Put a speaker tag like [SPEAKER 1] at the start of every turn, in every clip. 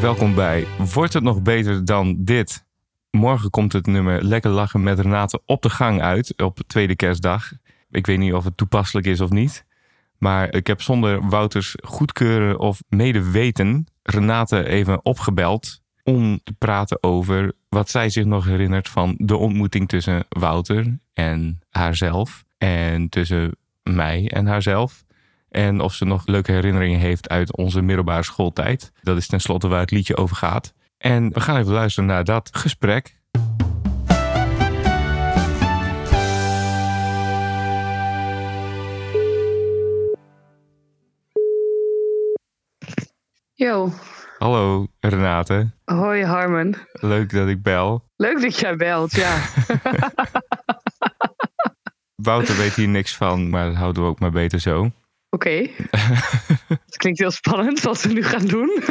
[SPEAKER 1] Welkom bij Wordt het nog beter dan dit? Morgen komt het nummer Lekker Lachen met Renate op de gang uit op de tweede kerstdag. Ik weet niet of het toepasselijk is of niet. Maar ik heb zonder Wouters goedkeuren of medeweten Renate even opgebeld om te praten over wat zij zich nog herinnert van de ontmoeting tussen Wouter en haarzelf. En tussen mij en haarzelf. En of ze nog leuke herinneringen heeft uit onze middelbare schooltijd. Dat is tenslotte waar het liedje over gaat. En we gaan even luisteren naar dat gesprek.
[SPEAKER 2] Yo,
[SPEAKER 1] Hallo Renate,
[SPEAKER 2] hoi Harmon.
[SPEAKER 1] leuk dat ik bel.
[SPEAKER 2] Leuk dat jij belt, ja.
[SPEAKER 1] Wouter weet hier niks van, maar dat houden we ook maar beter zo.
[SPEAKER 2] Oké. Het klinkt heel spannend wat we nu gaan doen.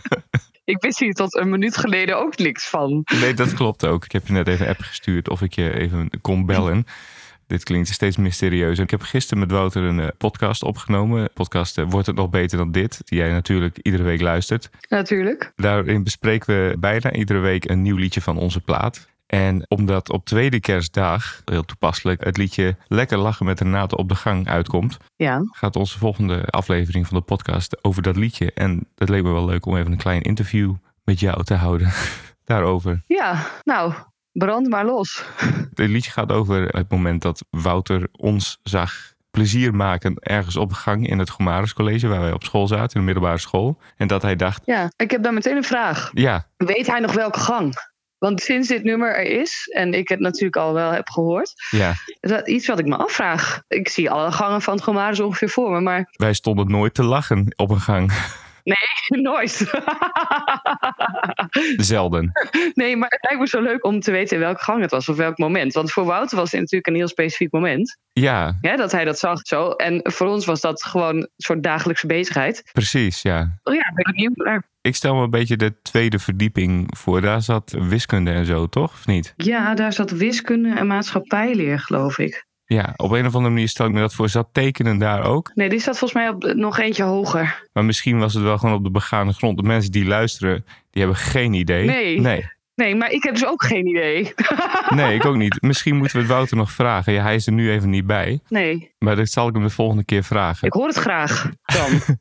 [SPEAKER 2] ik wist hier tot een minuut geleden ook niks van.
[SPEAKER 1] Nee, dat klopt ook. Ik heb je net even een app gestuurd of ik je even kon bellen. Dit klinkt steeds mysterieuzer. Ik heb gisteren met Wouter een eh, podcast opgenomen. De podcast eh, Wordt het nog beter dan dit? Die jij natuurlijk iedere week luistert.
[SPEAKER 2] Natuurlijk.
[SPEAKER 1] Daarin bespreken we bijna iedere week een nieuw liedje van onze plaat. En omdat op tweede kerstdag, heel toepasselijk, het liedje Lekker lachen met Renate op de gang uitkomt,
[SPEAKER 2] Ja.
[SPEAKER 1] gaat onze volgende aflevering van de podcast over dat liedje. En dat leek me wel leuk om even een klein interview met jou te houden daarover.
[SPEAKER 2] Ja, nou, brand maar los.
[SPEAKER 1] Het liedje gaat over het moment dat Wouter ons zag plezier maken ergens op de gang in het Gomarus College, waar wij op school zaten, in de middelbare school. En dat hij dacht,
[SPEAKER 2] Ja, ik heb dan meteen een vraag.
[SPEAKER 1] ja,
[SPEAKER 2] Weet hij nog welke gang? Want sinds dit nummer er is, en ik het natuurlijk al wel heb gehoord,
[SPEAKER 1] ja,
[SPEAKER 2] is dat iets wat ik me afvraag. Ik zie alle gangen van het Gomaris ongeveer voor me, maar
[SPEAKER 1] wij stonden nooit te lachen op een gang.
[SPEAKER 2] nooit.
[SPEAKER 1] Zelden.
[SPEAKER 2] Nee, maar het lijkt me zo leuk om te weten in welke gang het was of welk moment. Want voor Wouter was dit natuurlijk een heel specifiek moment.
[SPEAKER 1] Ja,
[SPEAKER 2] Hè, dat hij dat zag zo. En voor ons was dat gewoon een soort dagelijkse bezigheid.
[SPEAKER 1] precies, ja.
[SPEAKER 2] Oh ja, ben ik benieuwd naar.
[SPEAKER 1] Ik stel me een beetje de tweede verdieping voor. Daar zat wiskunde en zo, toch? Of niet?
[SPEAKER 2] Ja, daar zat wiskunde en maatschappijleer, geloof ik.
[SPEAKER 1] Ja, op een of andere manier stel ik me dat voor. Zat tekenen daar ook?
[SPEAKER 2] Nee, die zat volgens mij op eh, nog eentje hoger.
[SPEAKER 1] Maar misschien was het wel gewoon op de begane grond. De mensen die luisteren, die hebben geen idee.
[SPEAKER 2] Nee.
[SPEAKER 1] Nee,
[SPEAKER 2] Nee, maar ik heb dus ook geen idee.
[SPEAKER 1] nee ik ook niet. Misschien moeten we het Wouter nog vragen. Ja, hij is er nu even niet bij.
[SPEAKER 2] Nee,
[SPEAKER 1] Maar dat zal ik hem de volgende keer vragen.
[SPEAKER 2] ik hoor het graag dan.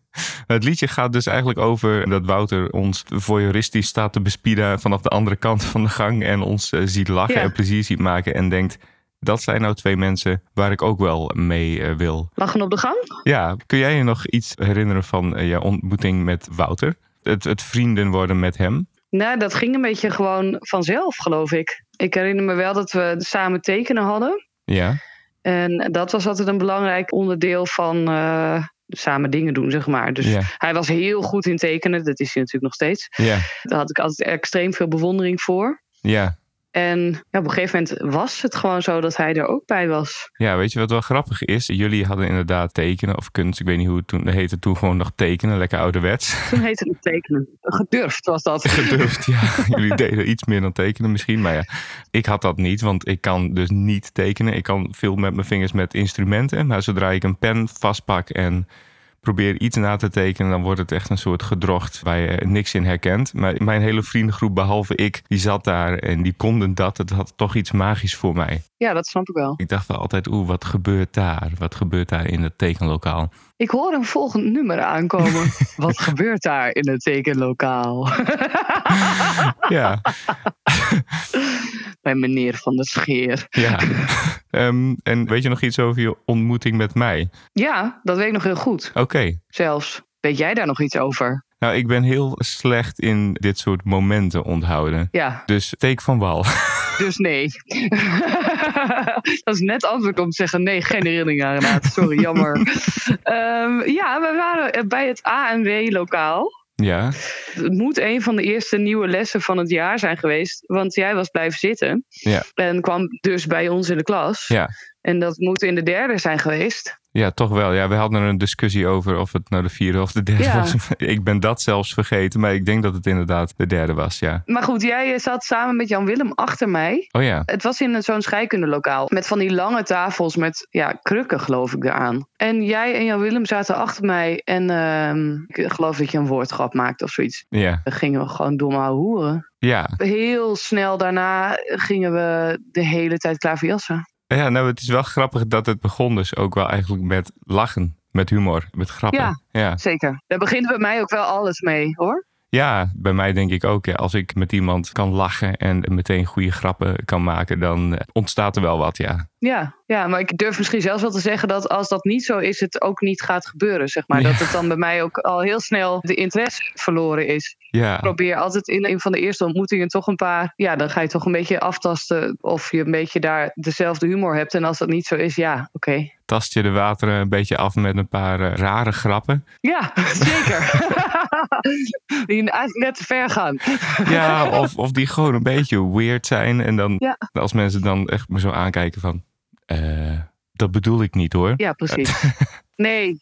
[SPEAKER 1] Het liedje gaat dus eigenlijk over dat Wouter ons voyeuristisch staat te bespieden vanaf de andere kant van de gang. En ons eh, ziet lachen
[SPEAKER 2] Ja.
[SPEAKER 1] en plezier ziet maken. En denkt, dat zijn nou twee mensen waar ik ook wel mee eh, wil.
[SPEAKER 2] Lachen op de gang?
[SPEAKER 1] Ja, kun jij je nog iets herinneren van eh, jouw ontmoeting met Wouter? Het, het vrienden worden met hem?
[SPEAKER 2] Nou, dat ging een beetje gewoon vanzelf, geloof ik. Ik herinner me wel dat we samen tekenen hadden.
[SPEAKER 1] Ja,
[SPEAKER 2] En dat was altijd een belangrijk onderdeel van eh, samen dingen doen, zeg maar. Dus
[SPEAKER 1] ja,
[SPEAKER 2] hij was heel goed in tekenen, dat is hij natuurlijk nog steeds.
[SPEAKER 1] ja,
[SPEAKER 2] Daar had ik altijd extreem veel bewondering voor.
[SPEAKER 1] ja.
[SPEAKER 2] En ja, op een gegeven moment was het gewoon zo dat hij er ook bij was.
[SPEAKER 1] Ja, weet je wat wel grappig is? Jullie hadden inderdaad tekenen of kunst. Ik weet niet hoe het toen heette. Toen gewoon nog tekenen, lekker ouderwets.
[SPEAKER 2] Toen heette het tekenen. Gedurfd was dat.
[SPEAKER 1] gedurfd. Ja, jullie deden iets meer dan tekenen misschien. Maar ja, ik had dat niet, want ik kan dus niet tekenen. Ik kan veel met mijn vingers met instrumenten. Maar zodra ik een pen vastpak en probeer iets na te tekenen, dan wordt het echt een soort gedrocht waar je niks in herkent. Maar mijn hele vriendengroep, behalve ik, die zat daar en die konden dat. Het had toch iets magisch voor mij.
[SPEAKER 2] Ja, dat snap ik wel.
[SPEAKER 1] Ik dacht wel altijd, oeh, wat gebeurt daar? Wat gebeurt daar in het tekenlokaal?
[SPEAKER 2] Ik hoor een volgend nummer aankomen. Wat gebeurt daar in het tekenlokaal?
[SPEAKER 1] Ja.
[SPEAKER 2] Bij meneer van der Scheer.
[SPEAKER 1] Ja. Ehm, en weet je nog iets over je ontmoeting met mij?
[SPEAKER 2] Ja, dat weet ik nog heel goed.
[SPEAKER 1] Oké.
[SPEAKER 2] Zelfs. Weet jij daar nog iets over?
[SPEAKER 1] Nou, ik ben heel slecht in dit soort momenten onthouden.
[SPEAKER 2] Ja,
[SPEAKER 1] Dus steek van wal.
[SPEAKER 2] Dus nee. dat is net antwoord om te zeggen: nee, geen herinnering aan Renate. Sorry, jammer. Ehm, ja, we waren bij het ANW-lokaal.
[SPEAKER 1] ja,
[SPEAKER 2] Het moet een van de eerste nieuwe lessen van het jaar zijn geweest. Want jij was blijven zitten.
[SPEAKER 1] Ja.
[SPEAKER 2] En kwam dus bij ons in de klas.
[SPEAKER 1] Ja.
[SPEAKER 2] En dat moet in de derde zijn geweest.
[SPEAKER 1] Ja, toch wel. Ja, we hadden er een discussie over of het nou de vierde of de derde
[SPEAKER 2] Ja.
[SPEAKER 1] was. Ik ben dat zelfs vergeten, maar ik denk dat het inderdaad de derde was, ja.
[SPEAKER 2] Maar goed, jij eh, zat samen met Jan Willem achter mij.
[SPEAKER 1] Oh ja,
[SPEAKER 2] Het was in een- zo'n scheikundelokaal. Met van die lange tafels met ja, krukken, geloof ik, eraan. En jij en Jan Willem zaten achter mij. En ehm, ik geloof dat je een woordgrap maakte of zoiets.
[SPEAKER 1] ja,
[SPEAKER 2] Dan gingen we gewoon dom ouwe hoeren.
[SPEAKER 1] ja.
[SPEAKER 2] Heel snel daarna gingen we de hele tijd klaverjassen.
[SPEAKER 1] Ja, nou, het is wel grappig dat het begon dus ook wel eigenlijk met lachen, met humor, met grappen.
[SPEAKER 2] Ja.
[SPEAKER 1] ja.
[SPEAKER 2] Zeker. Daar begint bij mij ook wel alles mee, hoor.
[SPEAKER 1] Ja, bij mij denk ik ook. Ja. Als ik met iemand kan lachen en meteen goede grappen kan maken, dan eh, ontstaat er wel wat, ja.
[SPEAKER 2] Ja, ja, maar ik durf misschien zelfs wel te zeggen dat als dat niet zo is, het ook niet gaat gebeuren. Zeg maar.
[SPEAKER 1] Ja.
[SPEAKER 2] Dat het dan bij mij ook al heel snel de interesse verloren is. Ik
[SPEAKER 1] Ja,
[SPEAKER 2] probeer altijd in een van de eerste ontmoetingen toch een paar. Ja, dan ga je toch een beetje aftasten of je een beetje daar dezelfde humor hebt. En als dat niet zo is, ja, oké.
[SPEAKER 1] tast je de wateren een beetje af met een paar eh, rare grappen.
[SPEAKER 2] Ja, zeker. Die eigenlijk net te ver gaan.
[SPEAKER 1] Ja, of, of die gewoon een beetje weird zijn. En dan
[SPEAKER 2] Ja.
[SPEAKER 1] als mensen dan echt me zo aankijken van, eh, dat bedoel ik niet hoor.
[SPEAKER 2] Ja, precies. Nee.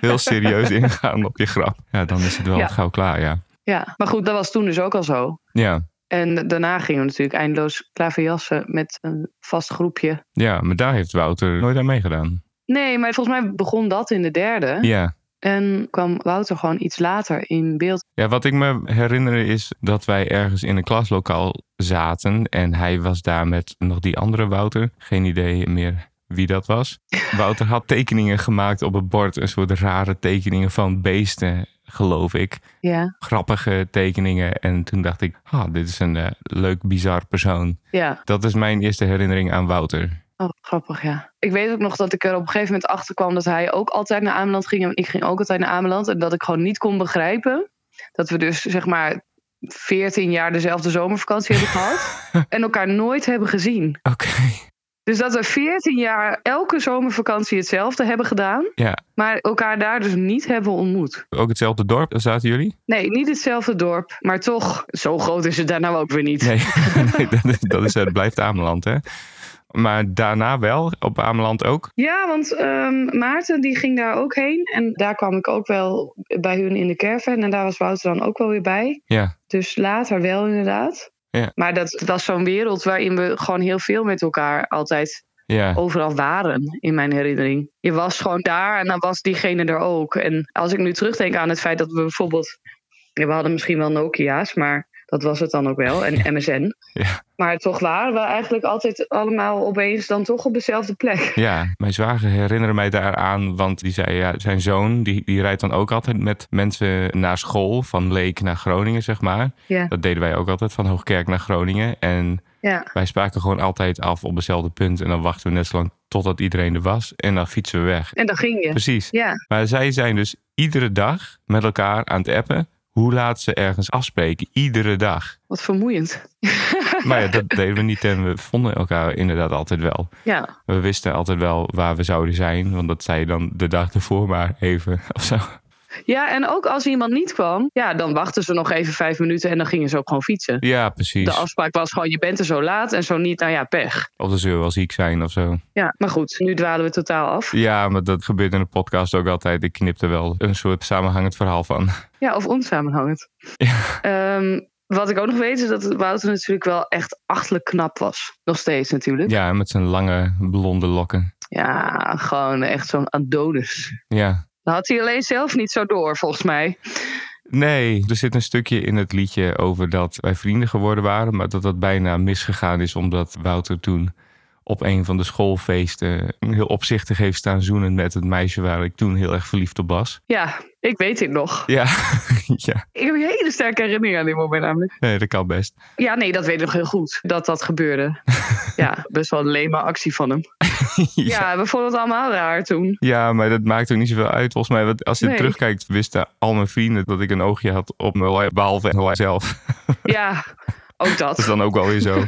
[SPEAKER 1] Heel serieus ingaan op je grap. Ja, dan is het wel
[SPEAKER 2] Ja.
[SPEAKER 1] gauw klaar, ja.
[SPEAKER 2] Ja, maar goed, dat was toen dus ook al zo.
[SPEAKER 1] Ja.
[SPEAKER 2] En daarna gingen we natuurlijk eindeloos klaverjassen met een vast groepje.
[SPEAKER 1] ja, maar daar heeft Wouter nooit aan meegedaan.
[SPEAKER 2] Nee, maar volgens mij begon dat in de derde.
[SPEAKER 1] Ja.
[SPEAKER 2] En kwam Wouter gewoon iets later in beeld.
[SPEAKER 1] Ja, wat ik me herinner is dat wij ergens in een klaslokaal zaten. En hij was daar met nog die andere Wouter. Geen idee meer wie dat was. Wouter had tekeningen gemaakt op het bord. Een soort rare tekeningen van beesten, geloof ik.
[SPEAKER 2] Ja,
[SPEAKER 1] Grappige tekeningen. En toen dacht ik, ah, dit is een eh, leuk, bizar persoon.
[SPEAKER 2] ja.
[SPEAKER 1] Dat is mijn eerste herinnering aan Wouter.
[SPEAKER 2] Oh, wat grappig, ja. Ik weet ook nog dat ik er op een gegeven moment achter kwam dat hij ook altijd naar Ameland ging. En ik ging ook altijd naar Ameland. En dat ik gewoon niet kon begrijpen dat we dus zeg maar 14 jaar dezelfde zomervakantie hebben gehad. en elkaar nooit hebben gezien.
[SPEAKER 1] Oké.
[SPEAKER 2] Dus dat we 14 jaar elke zomervakantie hetzelfde hebben gedaan.
[SPEAKER 1] Ja.
[SPEAKER 2] Maar elkaar daar dus niet hebben ontmoet.
[SPEAKER 1] Ook hetzelfde dorp zaten jullie?
[SPEAKER 2] Nee, niet hetzelfde dorp. Maar toch, zo groot is het daar nou ook weer niet.
[SPEAKER 1] Nee, nee dat, is, dat is, het blijft Ameland, hè? Maar daarna wel, op Ameland ook?
[SPEAKER 2] Ja, want ehm, Maarten die ging daar ook heen. En daar kwam ik ook wel bij hun in de caravan. En daar was Wouter dan ook wel weer bij.
[SPEAKER 1] Ja.
[SPEAKER 2] Dus later wel inderdaad.
[SPEAKER 1] Ja.
[SPEAKER 2] Maar dat was zo'n wereld waarin we gewoon heel veel met elkaar altijd
[SPEAKER 1] Ja.
[SPEAKER 2] overal waren, in mijn herinnering. Je was gewoon daar en dan was diegene er ook. En als ik nu terugdenk aan het feit dat we bijvoorbeeld... ja, we hadden misschien wel Nokia's, maar dat was het dan ook wel. En MSN.
[SPEAKER 1] Ja.
[SPEAKER 2] Maar toch waren we eigenlijk altijd allemaal opeens dan toch op dezelfde plek.
[SPEAKER 1] Ja, mijn zwager herinnerde mij daaraan, want die zei, ja, zijn zoon, die, die rijdt dan ook altijd met mensen naar school, van Leek naar Groningen, zeg maar.
[SPEAKER 2] Ja.
[SPEAKER 1] Dat deden wij ook altijd, van Hoogkerk naar Groningen. En
[SPEAKER 2] Ja.
[SPEAKER 1] wij spraken gewoon altijd af op hetzelfde punt en dan wachten we net zo lang totdat iedereen er was en dan fietsen we weg.
[SPEAKER 2] En dan ging je.
[SPEAKER 1] Precies.
[SPEAKER 2] Ja,
[SPEAKER 1] Maar zij zijn dus iedere dag met elkaar aan het appen hoe laat ze ergens afspreken. Iedere dag.
[SPEAKER 2] wat vermoeiend.
[SPEAKER 1] Maar ja, dat deden we niet en we vonden elkaar inderdaad altijd wel.
[SPEAKER 2] Ja,
[SPEAKER 1] We wisten altijd wel waar we zouden zijn, want dat zei je dan de dag ervoor maar even of zo.
[SPEAKER 2] ja en ook als iemand niet kwam, ja, dan wachten ze nog even vijf minuten en dan gingen ze ook gewoon fietsen.
[SPEAKER 1] Ja, precies.
[SPEAKER 2] De afspraak was gewoon, je bent er zo laat en zo niet, nou ja, pech.
[SPEAKER 1] Of dan zullen we wel ziek zijn of zo.
[SPEAKER 2] Ja, maar goed, nu dwalen we totaal af.
[SPEAKER 1] Ja, maar dat gebeurt in de podcast ook altijd. Ik knip er wel een soort samenhangend verhaal van.
[SPEAKER 2] Ja, of onsamenhangend. Ehm, wat ik ook nog weet is dat Wouter natuurlijk wel echt achtelijk knap was. Nog steeds natuurlijk. Ja,
[SPEAKER 1] Ja, met zijn lange blonde lokken.
[SPEAKER 2] gewoon echt zo'n Adonis.
[SPEAKER 1] Ja.
[SPEAKER 2] Dat had hij alleen zelf niet zo door, volgens mij.
[SPEAKER 1] Nee, er zit een stukje in het liedje over dat wij vrienden geworden waren, maar dat dat bijna misgegaan is omdat Wouter toen op een van de schoolfeesten heel opzichtig heeft staan zoenen met het meisje waar ik toen heel erg verliefd op was.
[SPEAKER 2] Ja, ik weet dit nog.
[SPEAKER 1] Ja, ja.
[SPEAKER 2] Ik heb een hele sterke herinnering aan dit moment namelijk.
[SPEAKER 1] Nee, dat kan best.
[SPEAKER 2] Ja, nee, dat weet ik nog heel goed. Dat dat gebeurde. ja, best wel een lema actie van hem. Ja, we vonden het allemaal raar toen.
[SPEAKER 1] Ja, maar dat maakt ook niet zoveel uit. Volgens mij, want als je
[SPEAKER 2] Nee.
[SPEAKER 1] terugkijkt, wisten al mijn vrienden dat ik een oogje had op Nolai, behalve Nolai zelf.
[SPEAKER 2] Ja, ook
[SPEAKER 1] Dat is
[SPEAKER 2] dat.
[SPEAKER 1] dan ook wel weer zo.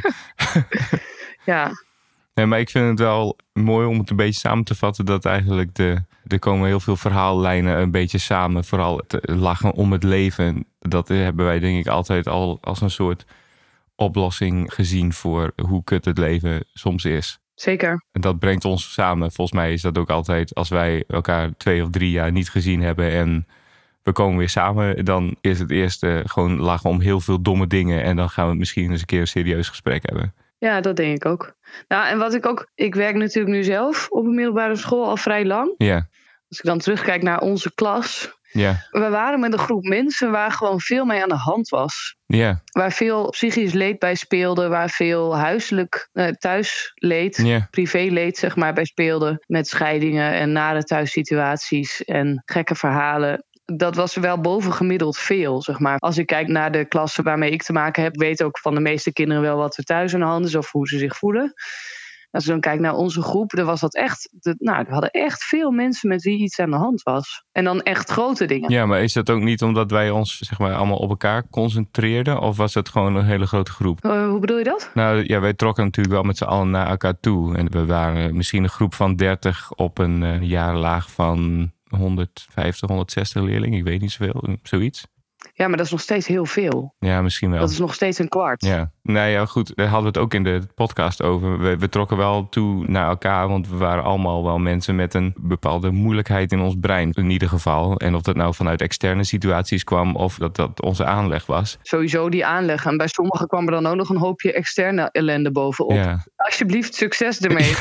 [SPEAKER 2] Ja,
[SPEAKER 1] Nee, maar ik vind het wel mooi om het een beetje samen te vatten. Dat eigenlijk de, er komen heel veel verhaallijnen een beetje samen. Vooral het lachen om het leven. Dat hebben wij denk ik altijd al als een soort oplossing gezien voor hoe kut het leven soms is.
[SPEAKER 2] Zeker.
[SPEAKER 1] En dat brengt ons samen. Volgens mij is dat ook altijd als wij elkaar twee of drie jaar niet gezien hebben en we komen weer samen, dan is het eerste gewoon lachen om heel veel domme dingen en dan gaan we misschien eens een keer een serieus gesprek hebben.
[SPEAKER 2] Ja, dat denk ik ook. Nou, en wat ik ook. Ik werk natuurlijk nu zelf op een middelbare school al vrij lang.
[SPEAKER 1] Ja,
[SPEAKER 2] Als ik dan terugkijk naar onze klas.
[SPEAKER 1] ja,
[SPEAKER 2] We waren met een groep mensen waar gewoon veel mee aan de hand was.
[SPEAKER 1] ja,
[SPEAKER 2] Waar veel psychisch leed bij speelde. Waar veel huiselijk eh, thuisleed,
[SPEAKER 1] ja,
[SPEAKER 2] privéleed zeg maar, bij speelde. Met scheidingen en nare thuissituaties en gekke verhalen. Dat was wel bovengemiddeld veel, zeg maar. Als ik kijk naar de klassen waarmee ik te maken heb... weet ook van de meeste kinderen wel wat er thuis aan de hand is... of hoe ze zich voelen. Als ik dan kijk naar onze groep, dan was dat echt... dat- nou, er hadden echt veel mensen met wie iets aan de hand was. En dan echt grote dingen.
[SPEAKER 1] ja. Maar is dat ook niet omdat wij ons zeg maar allemaal op elkaar concentreerden of was dat gewoon een hele grote groep?
[SPEAKER 2] Eh, hoe bedoel je dat?
[SPEAKER 1] Nou ja, wij trokken natuurlijk wel met z'n allen naar elkaar toe. En we waren misschien een groep van 30 op een eh, jaarlaag van 150, 160 leerlingen. Ik weet niet zoveel, zoiets.
[SPEAKER 2] Ja, maar dat is nog steeds heel veel.
[SPEAKER 1] Ja, misschien wel.
[SPEAKER 2] Dat is nog steeds een kwart.
[SPEAKER 1] Ja, nou ja, goed, daar hadden we het ook in de podcast over. We, we trokken wel toe naar elkaar, want we waren allemaal wel mensen met een bepaalde moeilijkheid in ons brein, in ieder geval. En of dat nou vanuit externe situaties kwam of dat dat onze aanleg was.
[SPEAKER 2] Sowieso die aanleg. En bij sommigen kwam er dan ook nog een hoopje externe ellende bovenop.
[SPEAKER 1] Ja,
[SPEAKER 2] Alsjeblieft, succes ermee.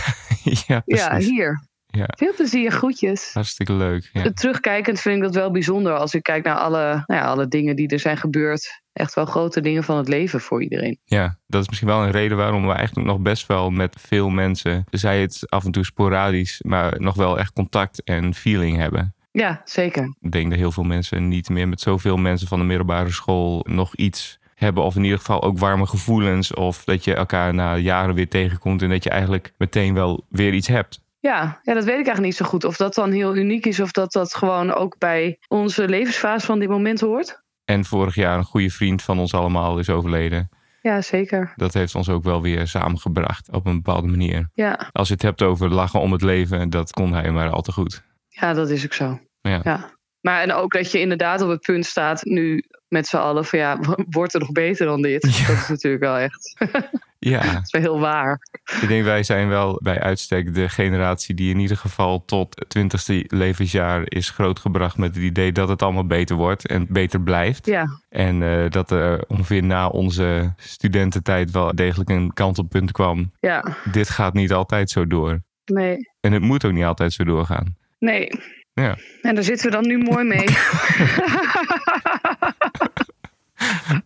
[SPEAKER 1] ja,
[SPEAKER 2] ja,
[SPEAKER 1] precies.
[SPEAKER 2] hier.
[SPEAKER 1] Ja.
[SPEAKER 2] Veel plezier, groetjes.
[SPEAKER 1] Hartstikke leuk. Ja.
[SPEAKER 2] Terugkijkend vind ik dat wel bijzonder als ik kijk naar alle, nou ja, alle dingen die er zijn gebeurd. Echt wel grote dingen van het leven voor iedereen.
[SPEAKER 1] Ja, dat is misschien wel een reden waarom we eigenlijk nog best wel met veel mensen, zij het af en toe sporadisch, maar nog wel echt contact en feeling hebben.
[SPEAKER 2] Ja, zeker.
[SPEAKER 1] Ik denk dat heel veel mensen niet meer met zoveel mensen van de middelbare school nog iets hebben. Of in ieder geval ook warme gevoelens. Of dat je elkaar na jaren weer tegenkomt en dat je eigenlijk meteen wel weer iets hebt.
[SPEAKER 2] Ja, ja, dat weet ik eigenlijk niet zo goed. Of dat dan heel uniek is of dat dat gewoon ook bij onze levensfase van dit moment hoort.
[SPEAKER 1] En vorig jaar een goede vriend van ons allemaal is overleden.
[SPEAKER 2] Ja, zeker.
[SPEAKER 1] Dat heeft ons ook wel weer samengebracht op een bepaalde manier.
[SPEAKER 2] Ja.
[SPEAKER 1] Als je het hebt over lachen om het leven, dat kon hij maar al te goed.
[SPEAKER 2] Ja, dat is ook zo.
[SPEAKER 1] Ja.
[SPEAKER 2] Maar en ook dat je inderdaad op het punt staat nu met z'n allen van ja, wordt er nog beter dan dit?
[SPEAKER 1] Ja.
[SPEAKER 2] Dat is natuurlijk wel echt
[SPEAKER 1] Ja.
[SPEAKER 2] dat is wel heel waar.
[SPEAKER 1] Ik denk wij zijn wel bij uitstek de generatie die in ieder geval tot het twintigste levensjaar is grootgebracht met het idee dat het allemaal beter wordt en beter blijft.
[SPEAKER 2] Ja,
[SPEAKER 1] En eh, dat er ongeveer na onze studententijd wel degelijk een kantelpunt kwam.
[SPEAKER 2] ja,
[SPEAKER 1] Dit gaat niet altijd zo door.
[SPEAKER 2] nee.
[SPEAKER 1] En het moet ook niet altijd zo doorgaan.
[SPEAKER 2] Nee.
[SPEAKER 1] Ja.
[SPEAKER 2] En daar zitten we dan nu mooi mee.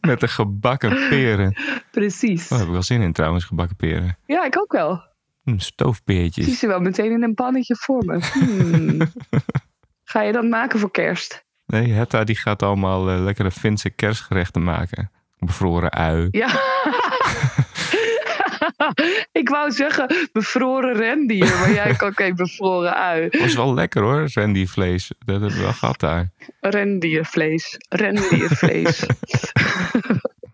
[SPEAKER 1] Met de gebakken peren. Oh,
[SPEAKER 2] Precies.
[SPEAKER 1] Daar heb ik wel zin in trouwens, gebakken peren.
[SPEAKER 2] Ja, ik ook wel.
[SPEAKER 1] Hm,
[SPEAKER 2] Ik zie
[SPEAKER 1] stoofpeertjes.
[SPEAKER 2] ze wel meteen in een pannetje voor me. Hmm. Ga je dat maken voor kerst?
[SPEAKER 1] Nee, Hetta die gaat allemaal eh, lekkere Finse kerstgerechten maken. Bevroren ui.
[SPEAKER 2] Ja. ik wou zeggen bevroren rendier, maar jij kan oké bevroren ui.
[SPEAKER 1] was wel lekker hoor, rendiervlees. Dat hebben we wel gehad daar.
[SPEAKER 2] Rendiervlees, rendiervlees.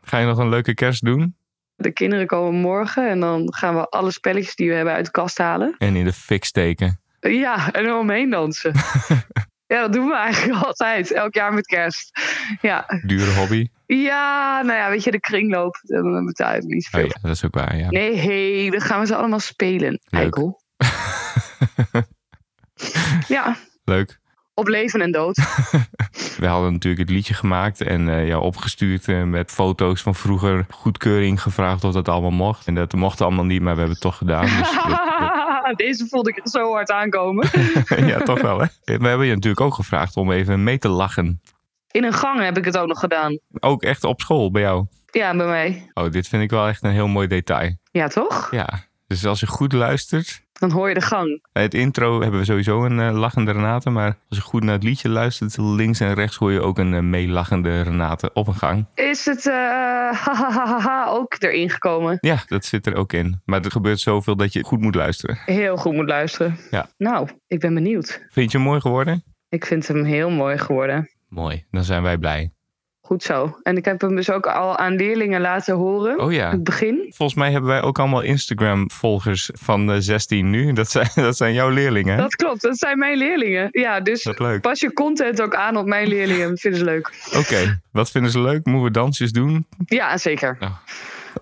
[SPEAKER 1] Ga je nog een leuke kerst doen?
[SPEAKER 2] de kinderen komen morgen en dan gaan we alle spelletjes die we hebben uit de kast halen.
[SPEAKER 1] En in de fik steken.
[SPEAKER 2] Ja, en omheen dansen. ja, dat doen we eigenlijk altijd, elk jaar met kerst. Ja,
[SPEAKER 1] Dure hobby.
[SPEAKER 2] ja nou ja, weet je, de kringloop, eh, dat betaalt niet
[SPEAKER 1] Oh
[SPEAKER 2] veel.
[SPEAKER 1] ja, dat is ook waar, ja.
[SPEAKER 2] Nee, hey, dan gaan we ze allemaal spelen, eikel. ja,
[SPEAKER 1] Leuk.
[SPEAKER 2] op leven en dood.
[SPEAKER 1] We hadden natuurlijk het liedje gemaakt en eh ja, opgestuurd eh, met foto's van vroeger. Goedkeuring gevraagd of dat allemaal mocht. En dat mocht allemaal niet, maar we hebben het toch gedaan. Dus dat-
[SPEAKER 2] Deze voelde ik zo hard aankomen.
[SPEAKER 1] ja, toch wel hè. We hebben je natuurlijk ook gevraagd om even mee te lachen.
[SPEAKER 2] In een gang heb ik het ook nog gedaan.
[SPEAKER 1] Ook echt op school bij jou.
[SPEAKER 2] Ja, bij mij.
[SPEAKER 1] Oh, dit vind ik wel echt een heel mooi detail.
[SPEAKER 2] Ja, toch?
[SPEAKER 1] Ja, dus als je goed luistert,
[SPEAKER 2] Dan hoor je de gang.
[SPEAKER 1] Bij het intro hebben we sowieso een eh, lachende Renate. Maar als je goed naar het liedje luistert, links en rechts hoor je ook een eh, meelachende Renate op een gang.
[SPEAKER 2] Is het eh, ha, ha, ha, ha, ha ook erin gekomen?
[SPEAKER 1] Ja, dat zit er ook in. Maar er gebeurt zoveel dat je goed moet luisteren.
[SPEAKER 2] Heel goed moet luisteren.
[SPEAKER 1] Ja.
[SPEAKER 2] Nou, ik ben benieuwd.
[SPEAKER 1] Vind je hem mooi geworden?
[SPEAKER 2] Ik vind hem heel mooi geworden.
[SPEAKER 1] Mooi, dan zijn wij blij.
[SPEAKER 2] Goed zo. En ik heb hem dus ook al aan leerlingen laten horen.
[SPEAKER 1] Oh ja.
[SPEAKER 2] Het begin.
[SPEAKER 1] Volgens mij hebben wij ook allemaal Instagram-volgers van eh, 16 nu. Dat zijn, dat zijn jouw leerlingen. hè?
[SPEAKER 2] Dat klopt, dat zijn mijn leerlingen. Ja, dus
[SPEAKER 1] Dat leuk.
[SPEAKER 2] pas je content ook aan op mijn leerlingen. Dat vinden ze leuk.
[SPEAKER 1] Oké, wat vinden ze leuk? Moeten we dansjes doen?
[SPEAKER 2] Ja, zeker.
[SPEAKER 1] Nou,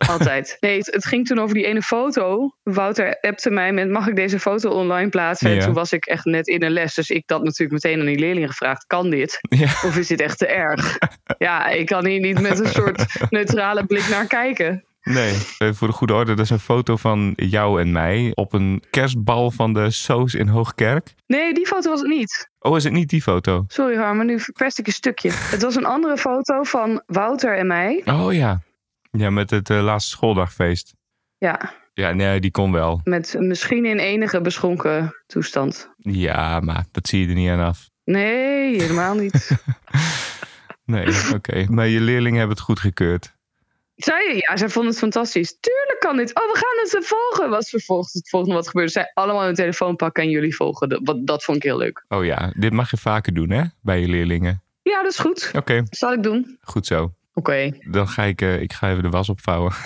[SPEAKER 2] Altijd. Nee, het, het ging toen over die ene foto. Wouter appte mij met: mag ik deze foto online plaatsen?
[SPEAKER 1] Ja.
[SPEAKER 2] En toen was ik echt net in een les. Dus ik had natuurlijk meteen aan die leerlingen gevraagd: kan dit?
[SPEAKER 1] Ja.
[SPEAKER 2] Of is dit echt te erg? Ja, ik kan hier niet met een soort neutrale blik naar kijken.
[SPEAKER 1] Nee, eh, voor de goede orde, dat is een foto van jou en mij op een kerstbal van de Soos in Hoogkerk.
[SPEAKER 2] Nee, die foto was het niet.
[SPEAKER 1] Oh, is het niet die foto?
[SPEAKER 2] Sorry Harmen, nu verpest ik een stukje. Het was een andere foto van Wouter en mij.
[SPEAKER 1] Oh ja. Ja, met het eh, laatste schooldagfeest.
[SPEAKER 2] Ja,
[SPEAKER 1] Ja, nee, die kon wel.
[SPEAKER 2] met misschien in enige beschonken toestand.
[SPEAKER 1] Ja, maar dat zie je er niet aan af.
[SPEAKER 2] Nee, helemaal niet.
[SPEAKER 1] Nee, oké. Maar je leerlingen hebben het goed gekeurd.
[SPEAKER 2] Zij, ja, zij vonden het fantastisch. Tuurlijk kan dit. Oh, we gaan het eh, volgen. Was vervolgens het volgende wat gebeurde. Zij allemaal hun telefoon pakken en jullie volgen. Dat, wat, dat vond ik heel leuk.
[SPEAKER 1] Oh ja, dit mag je vaker doen, hè? Bij je leerlingen.
[SPEAKER 2] Ja, dat is goed.
[SPEAKER 1] Oké,
[SPEAKER 2] Zal ik doen?
[SPEAKER 1] goed zo.
[SPEAKER 2] Oké.
[SPEAKER 1] Dan ga ik, eh, ik ga even de was opvouwen.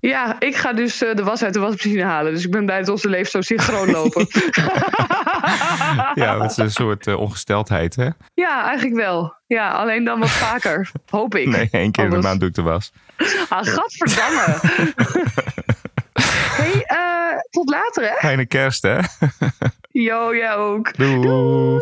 [SPEAKER 2] Ja, ik ga dus eh, de was uit de wasmachine halen. Dus ik ben blij dat onze levens zo synchroon lopen.
[SPEAKER 1] ja, dat is een soort eh, ongesteldheid, hè?
[SPEAKER 2] Ja, eigenlijk wel. Ja, alleen dan wat vaker. Hoop ik.
[SPEAKER 1] Nee, één keer in de
[SPEAKER 2] Anders-
[SPEAKER 1] maand doe ik de was.
[SPEAKER 2] Ah, gadverdamme. hey, eh, tot later hè.
[SPEAKER 1] Fijne kerst, hè?
[SPEAKER 2] Yo, jij ook.
[SPEAKER 1] Doei.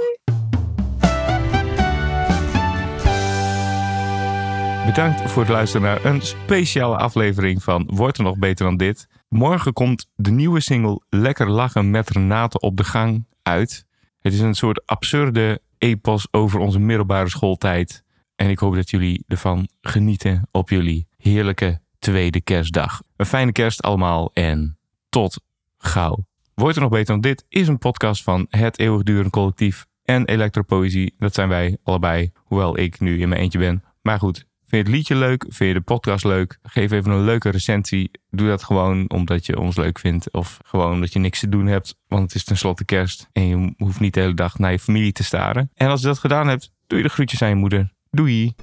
[SPEAKER 1] Bedankt voor het luisteren naar een speciale aflevering van Wordt er nog beter dan dit. Morgen komt de nieuwe single Lekker lachen met Renate op de gang uit. Het is een soort absurde epos over onze middelbare schooltijd. En ik hoop dat jullie ervan genieten op jullie heerlijke tweede kerstdag. Een fijne kerst allemaal en tot gauw. Wordt er nog beter dan dit is een podcast van Het Eeuwigdurend Collectief en Elektropoëzie. Dat zijn wij allebei, hoewel ik nu in mijn eentje ben. Maar goed, vind je het liedje leuk? Vind je de podcast leuk? Geef even een leuke recensie. Doe dat gewoon omdat je ons leuk vindt of gewoon omdat je niks te doen hebt, want het is tenslotte kerst en je hoeft niet de hele dag naar je familie te staren. En als je dat gedaan hebt, doe je de groetjes aan je moeder. Doei!